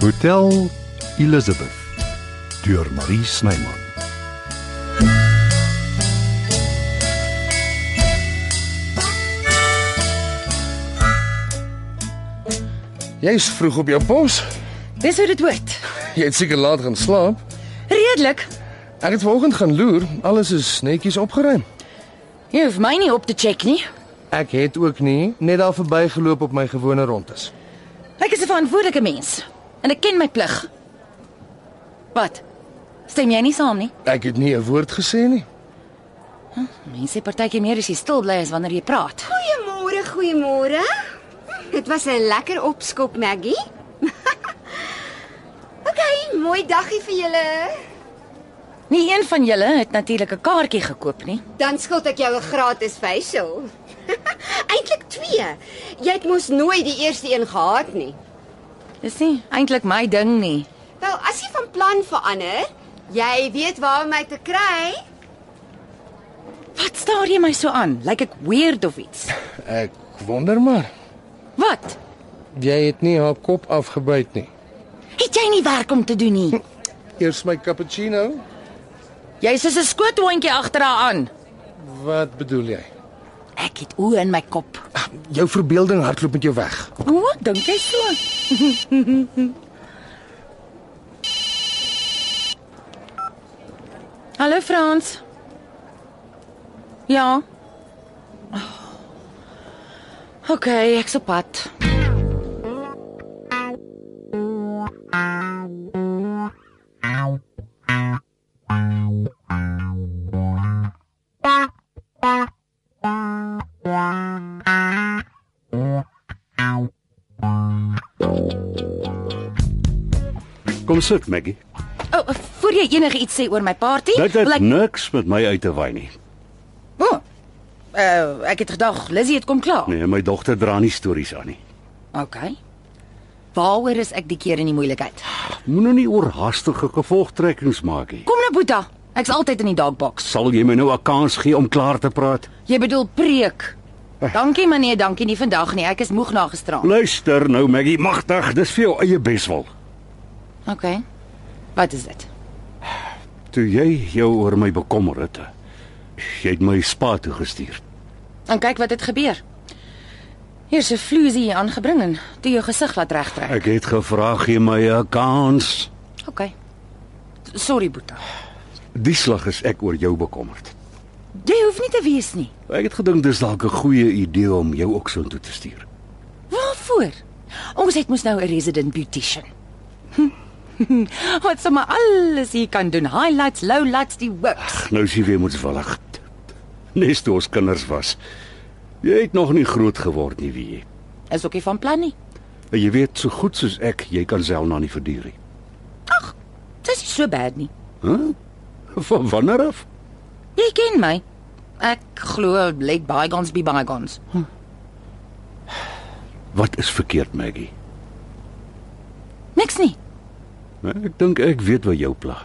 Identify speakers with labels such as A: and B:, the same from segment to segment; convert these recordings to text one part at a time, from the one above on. A: Hotel Elizabeth deur Marie Snyman.
B: Jy's vroeg op jou pos.
C: Dis hoe dit hoort.
B: Jy het seker laat gaan slaap.
C: Redelik.
B: Ek het vanoggend gaan loer. Alles is netjies opgeruim.
C: Jy hoef my nie op te check nie.
B: Ek het ook nie net daar verbygeloop op my gewone rondes.
C: Ek is 'n verantwoordelike mens en ek ken my plig. Wat? Stem jy nie saam nie?
B: Ek het nie 'n woord gesê nie.
C: Mense partykeer meer as jy stil bly as wanneer jy praat.
D: Goeiemôre, goeiemôre. Dit was 'n lekker opskop, Maggie. okay, mooi daggie vir julle.
C: Nie een van julle het natuurlik 'n kaartjie gekoop nie.
D: Dan skuld ek jou 'n gratis facial. Eintlik 2. Jy het mos nooit die eerste een gehad nie.
C: Dis nie eintlik my ding nie.
D: Wel, as jy van plan verander, jy weet waar om my te kry.
C: Wat staar jy my so aan? Lyk ek weird of iets?
B: Ek wonder maar.
C: Wat?
B: Jy het nie haar kop afgebyt nie.
C: Het jy nie werk om te doen nie?
B: Eers my cappuccino.
C: Jy is soos 'n skootwondjie agter haar aan.
B: Wat bedoel jy?
C: Ek het oë in my kop.
B: Ah, Jou verbeelding hardloop met jou weg.
C: Hoe dink jy so? Hallo Frans. Ja. Oh. OK, ek's op pad.
E: Kom sit, Maggie.
C: O, oh, voor jy enige iets sê oor my party,
E: Dit het niks met my uit te wy nie.
C: Oh, uh, ek het gedag Lizzie het kom klaar.
E: Nee, my dogter dra nie stories aan nie.
C: OK. Waaroor is ek die keer in die moeilikheid?
E: Moenie nie oorhaastige gevolgtrekkings maak nie.
C: Kom nou Boeta, ek's altyd in die dogbox.
E: Sal jy my nou 'n kans gee om klaar te praat?
C: Jy bedoel preek. Dankie maar nee, dankie nie vandag nie. Ek is moeg na gisteraan.
E: Luister nou, Maggie, magtig, dis vir jou eie beswil.
C: OK. Wat is dit?
E: Toe jy jou oor my bekommer het, jy het my spa toe gestuur.
C: En kyk wat het gebeur. Hier's 'n flusie hier aangebring en toe jou gesig laat regtrek.
E: Ek het gevra gee my 'n kans.
C: OK. Sorry Boeta.
E: Die slag is ek oor jou bekommerd.
C: Jy hoef nie te wees nie.
E: Ek het gedink dis dalk 'n goeie idee om jou ook so intoe te stuur.
C: Waarvoor? Ons het mos nou 'n resident beautician. Wat sommer alles hier kan doen. Highlights, lowlights, die works.
E: Nou is jy weer moedswillig. Nes toe ons kinders was. Jy het nog nie groot geword nie, wie jy.
C: Is ook nie van plan nie.
E: En jy weet so goed soos ek, jy kan self nou nie verduur nie.
C: Dis nie so bad nie.
E: Van wanneer af?
C: Jy ken my. Ek glo let bygones be bygones.
E: Wat is verkeerd, Maggie?
C: Niks nie,
E: Nee, Ek dink ek weet wat jou pla.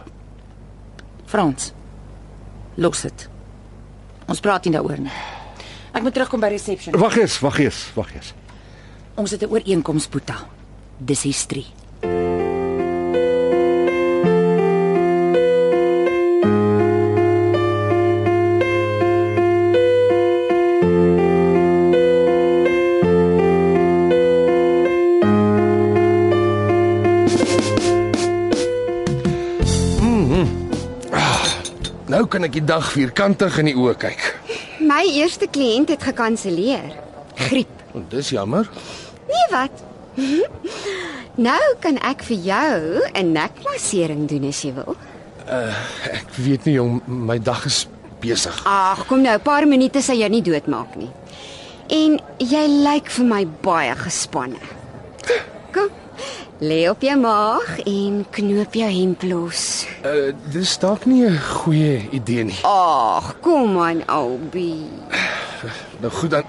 C: Frans. Los dit. Ons praat nie daaroor nie. Ek moet terugkom by reception.
E: Wag eens, wag eens, wag eens.
C: Ons het 'n ooreenkoms, Boeta. Dis history.
B: Nou kan ek die dag vierkantig in die oë kyk.
D: My eerste kliënt het gekanselleer. Griep.
B: Dis jammer.
D: Nee wat? nou kan ek vir jou 'n nekmassering doen as jy wil.
B: Ek weet nie jong, my dag is besig.
D: Ag, kom nou, 'n paar minute sal jou nie doodmaak nie. En jy lyk vir my baie gespanne. Kom. Lê op jou maag en knoop jou hemp los.
B: Uh, dis dalk nie 'n goeie idee nie.
D: Ag, kom aan, Albie.
B: Nou goed dan.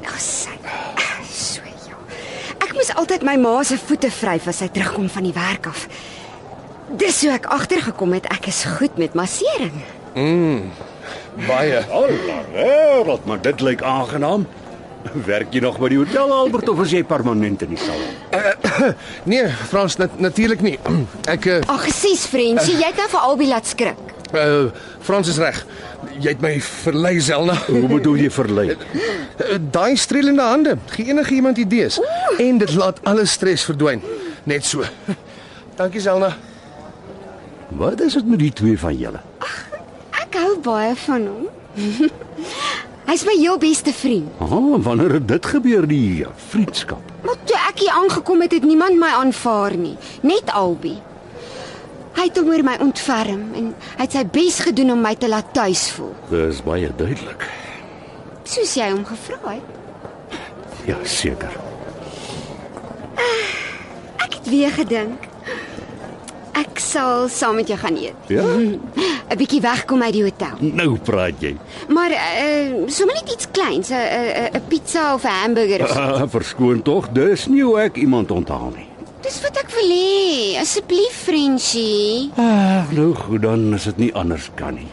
D: Nou sê. moes altyd my ma se voete vryf as sy terugkom van die werk af. Dis hoe ek agtergekom het ek is goed met massering.
B: Baie.
E: Alreed, maar dit lyk aangenaam. Werk jy nog by die hotel Albert of is jy permanent in die salon?
B: Nee, Frans nat natuurlik nie. Ek eh
D: Ag, gesies vriendjie, jy kan vir Albie laat skrik.
B: uh, Frans is reg. Jy het my verlei Zelna.
E: Hoe bedoel jy verlei?
B: Eh, Daai strelende hande, gee enige iemand idees en dit laat alle stres verdwyn. Net so. Dankie Zelna.
E: Wat is dit met die twee van julle?
D: Ek hou baie van hom. Hy's my heel beste vriend.
E: Oh, wanneer het dit gebeur die vriendskap?
D: Maar toe ek hier aangekom het, het niemand my aanvaar nie, net Albie. Hy het hom oor my ontferm en hy het sy bes gedoen om my te laat tuis voel,
E: Dis baie duidelik.
D: soos jy hom gevra het.
E: Ja, seker.
D: Ek het weer gedink ek sal saam met jou gaan eet.
E: Ja?
D: 'n Bietjie wegkom uit die hotel.
E: Nou praat jy.
D: Maar uh sommer net iets kleins, 'n 'n 'n pizza of 'n hamburger of so.
E: Ah, verskoon tog, dis nie hoe ek iemand onthaal nie.
D: Dis wat ek wil hê. Asseblief, Frenchie.
E: Ag, nou goed dan, as dit nie anders kan nie.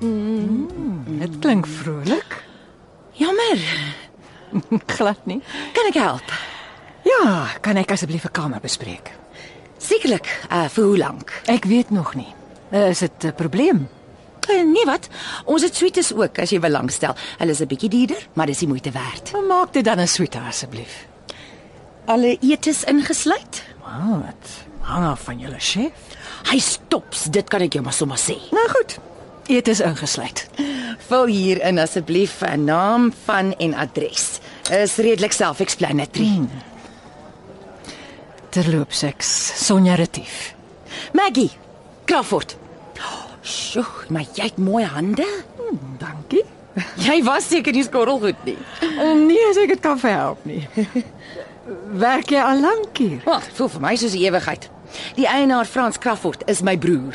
F: Dit klink vrolik.
C: Jammer.
F: Glad nie.
C: Kan ek help?
F: Ja, kan ek asseblief 'n kamer bespreek?
C: Sekerlik. Uh vir hoe lank?
F: Ek weet nog nie. Eh, Is dit 'n probleem?
C: Uh, nee wat? Ons het suites ook as jy belangstel. Hulle is 'n bietjie duurder, maar dis die moeite werd.
F: Maar Maak dit dan 'n suite asseblief.
C: Alle etes ingesluit?
F: Wow, dit Ah, hang af van julle chef.
C: Hy stops, dit kan ek jou maar sommer sê.
F: Nou goed. Eet is ingesluit.
C: Vul hier in asseblief 'n naam van en adres. Is redelik self-explanatory. Hmm.
F: Terloops ek Sonja Retief.
C: Maggie, Crawford. Sjoe, maar jy het mooi hande.
F: Dankie.
C: Jy was seker nie skorrelgoed nie.
F: Nee, as ek dit kan help nie. Werk jy al lank hier?
C: Wat, voel vir my soos 'n ewigheid. Die eienaar Frans Crawford is my broer.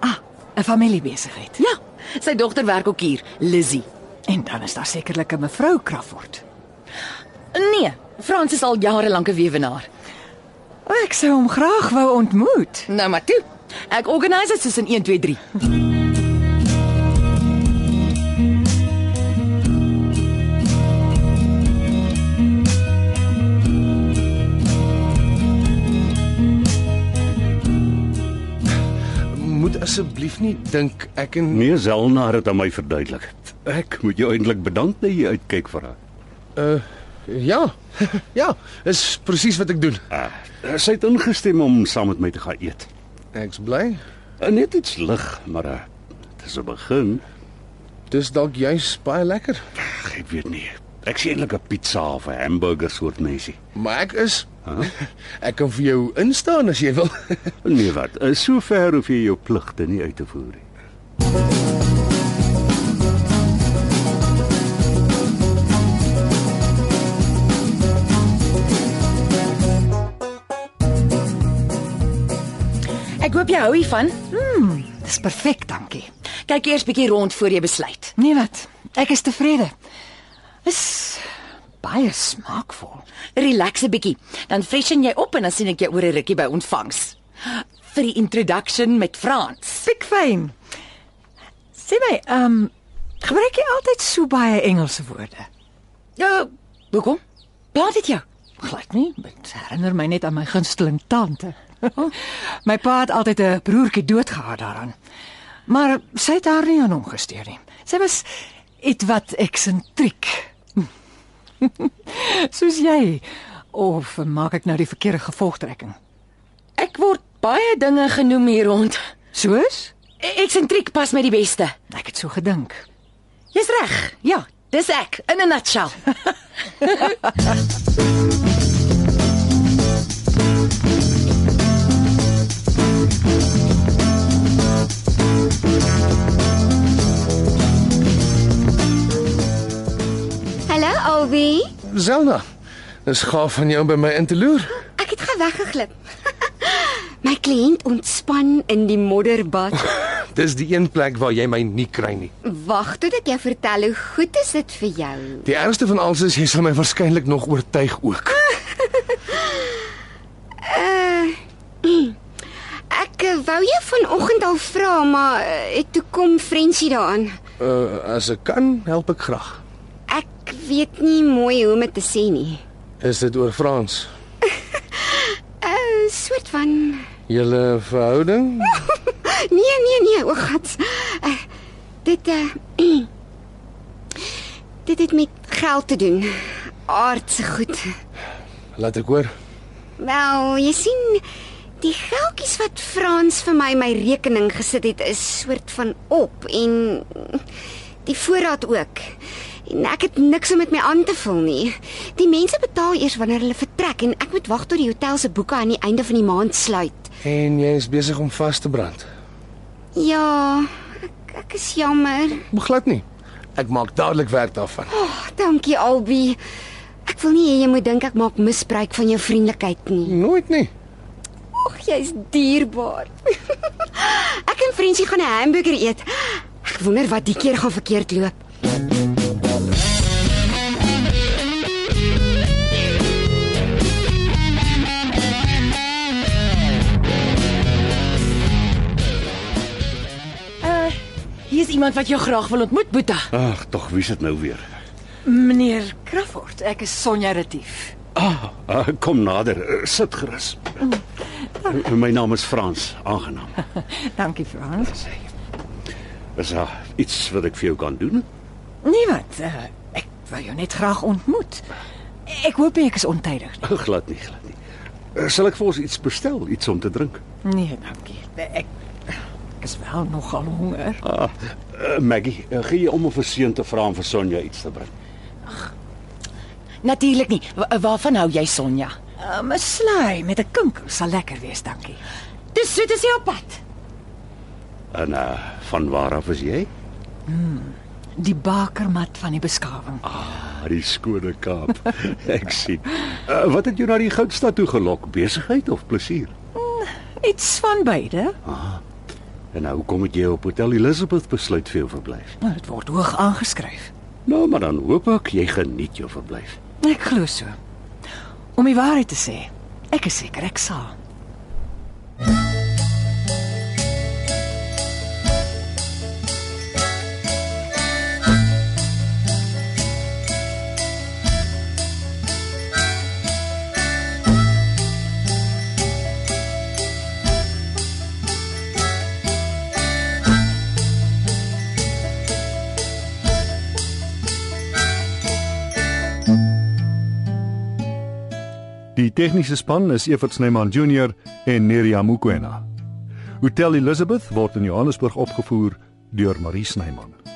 F: Ah, 'n familiebesigheid.
C: Ja, sy dogter werk ook hier, Lizzie.
F: En dan is daar sekerlik 'n mevrou Crawford.
C: Nee, Frans is al jare lank 'n weewenaar.
F: O, ek sou hom graag wou ontmoet.
C: Nou maar toe. Ek organiseer dit soos in 1 2 3.
B: Moet asseblief nie dink ek en
E: Nee, Zelna het dit aan my verduidelik. Ek moet jou eintlik bedank dat jy uitkyk vir haar.
B: ja. ja, is presies wat ek doen.
E: Ah, sy het ingestem om saam met my te gaan eet.
B: Ek's bly.
E: Eh, Net iets lig, maar eh, dit is 'n begin.
B: Dis dalk juis baie lekker.
E: Ag, ek weet nie. Ek sien eintlik 'n pizza of 'n hamburger soort mensie.
B: Maar ek is ek kan vir jou instaan as jy wil.
E: Nee, wat? eh, Sover hoef jy jou pligte nie uit te voer nie.
C: Ek hoop jy hou hiervan.
F: Dis perfek, dankie.
C: Kyk eers bietjie rond voor jy besluit.
F: Nee wat? Ek is tevrede. Is baie smaakvol.
C: Relax 'n bietjie, dan freshen jy op en dan sien ek jou oor 'n rukkie by ontvangs. Vir die introduction met Frans.
F: Pikfyn. Sê my, ehm um, gebruik jy altyd so baie Engelse woorde?
C: Ja, hoekom? Plaat dit jou?
F: Glad nie. Dit herinner my net aan my gunsteling tante.
G: Oh.
F: my pa het altyd 'n broertjie doodgehad daaraan. Maar sy het haar nie aan hom gesteer nie. Sy was ietwat eksentriek. Soos jy. Of maak ek nou die verkeerde gevolgtrekking?
C: Ek word baie dinge genoem hier rond.
F: Soos?
C: E- Eksentriek pas met die beste.
F: Ek het so gedink.
C: Jy's reg. Ja, dis ek in 'n nutshell.
D: Hallo Albie.
B: Zelna, dis gaaf van jou om by my in te loer.
D: Ek het gaan weggeglip. My kliënt ontspan in die modderbad.
B: Dis die een plek waar jy my nie kry nie.
D: Wag tot ek jou vertel hoe goed is dit vir jou.
B: Die ergste van alles is jy sal my waarskynlik nog oortuig ook.
D: Ek eh, wou jou vanoggend al vra, maar eh, toe kom Frensie daaraan.
B: Uh as ek kan, help ek graag.
D: Ek weet nie mooi hoe om dit te sê nie.
B: Is dit oor Frans?
D: 'n Eh, Soort van
B: Julle verhouding?
D: Nee, nee, nee, o God. Eh, Dit uh Dit het met geld te doen. Aardse goed.
B: Laat ek hoor.
D: Wel, jy sien, die geldjies wat Frans vir my in my rekening gesit het, is soort van op en die voorraad ook. En ek het niks om met my aan te vul nie. Die mense betaal eers wanneer hulle vertrek en ek moet wag tot die hotel se boeke aan die einde van die maand sluit.
B: En jy is besig om vas te brand.
D: Ja, ek, ek is jammer.
B: Beglad nie. Ek maak dadelik werk daarvan.
D: Oh, dankie Albi. Ek wil nie hê jy moet dink ek maak misbruik van jou vriendelikheid nie.
B: Nooit nie.
D: Ag, jy's dierbaar. ek en Frensie gaan 'n hamburger eet. Ek wonder wat die keer gaan verkeerd loop.
G: Hier is iemand wat jou graag wil ontmoet, Boeta.
E: Ag, tog wie's dit nou weer?
F: Meneer Crawford, ek is Sonja Retief.
E: Ah, ah, kom nader, eh, sit gerus. Eh, My naam is Frans, aangenaam.
F: Dankie Frans.
E: Is daar iets wat ek vir jou kan doen?
F: Nee wat, eh, ek wou jou net graag ontmoet. Ek hoop nie ek is ontydig nie.
E: Glad nie, glad nie. Eh, Sal ek vir ons iets bestel, iets om te drink?
F: Nee, dankie. Ek ek is wel nogal honger.
E: Ah, eh, Maggie, eh, gee jy om of 'n seun te vra om vir Sonja iets te bring?
G: Natuurlik nie. Wa- Waarvan hou jy, Sonja?
F: 'n um, Slaai met 'n kinkel sal lekker wees, dankie.
G: Dis soet as jy op pad.
E: En uh, van waar af is jy?
F: Die bakermat van die beskawing.
E: Ah, die skone Kaap. ek sien. Uh, wat het jou na die Goudstad toe gelok? Besigheid of plesier?
F: Iets van beide.
E: En nou hoekom het jy op Hotel Elizabeth besluit vir jou verblyf?
F: Maar dit word hoog aangeskryf.
E: Nou, maar dan hoop ek jy geniet jou verblyf.
F: Ek glo so. Om die waarheid te sê, ek is seker ek sal.
A: Die tegniese span is Evert Snyman Junior en Neriya Mukwena. Hotel Elizabeth word in Johannesburg opgevoer deur Marie Snyman.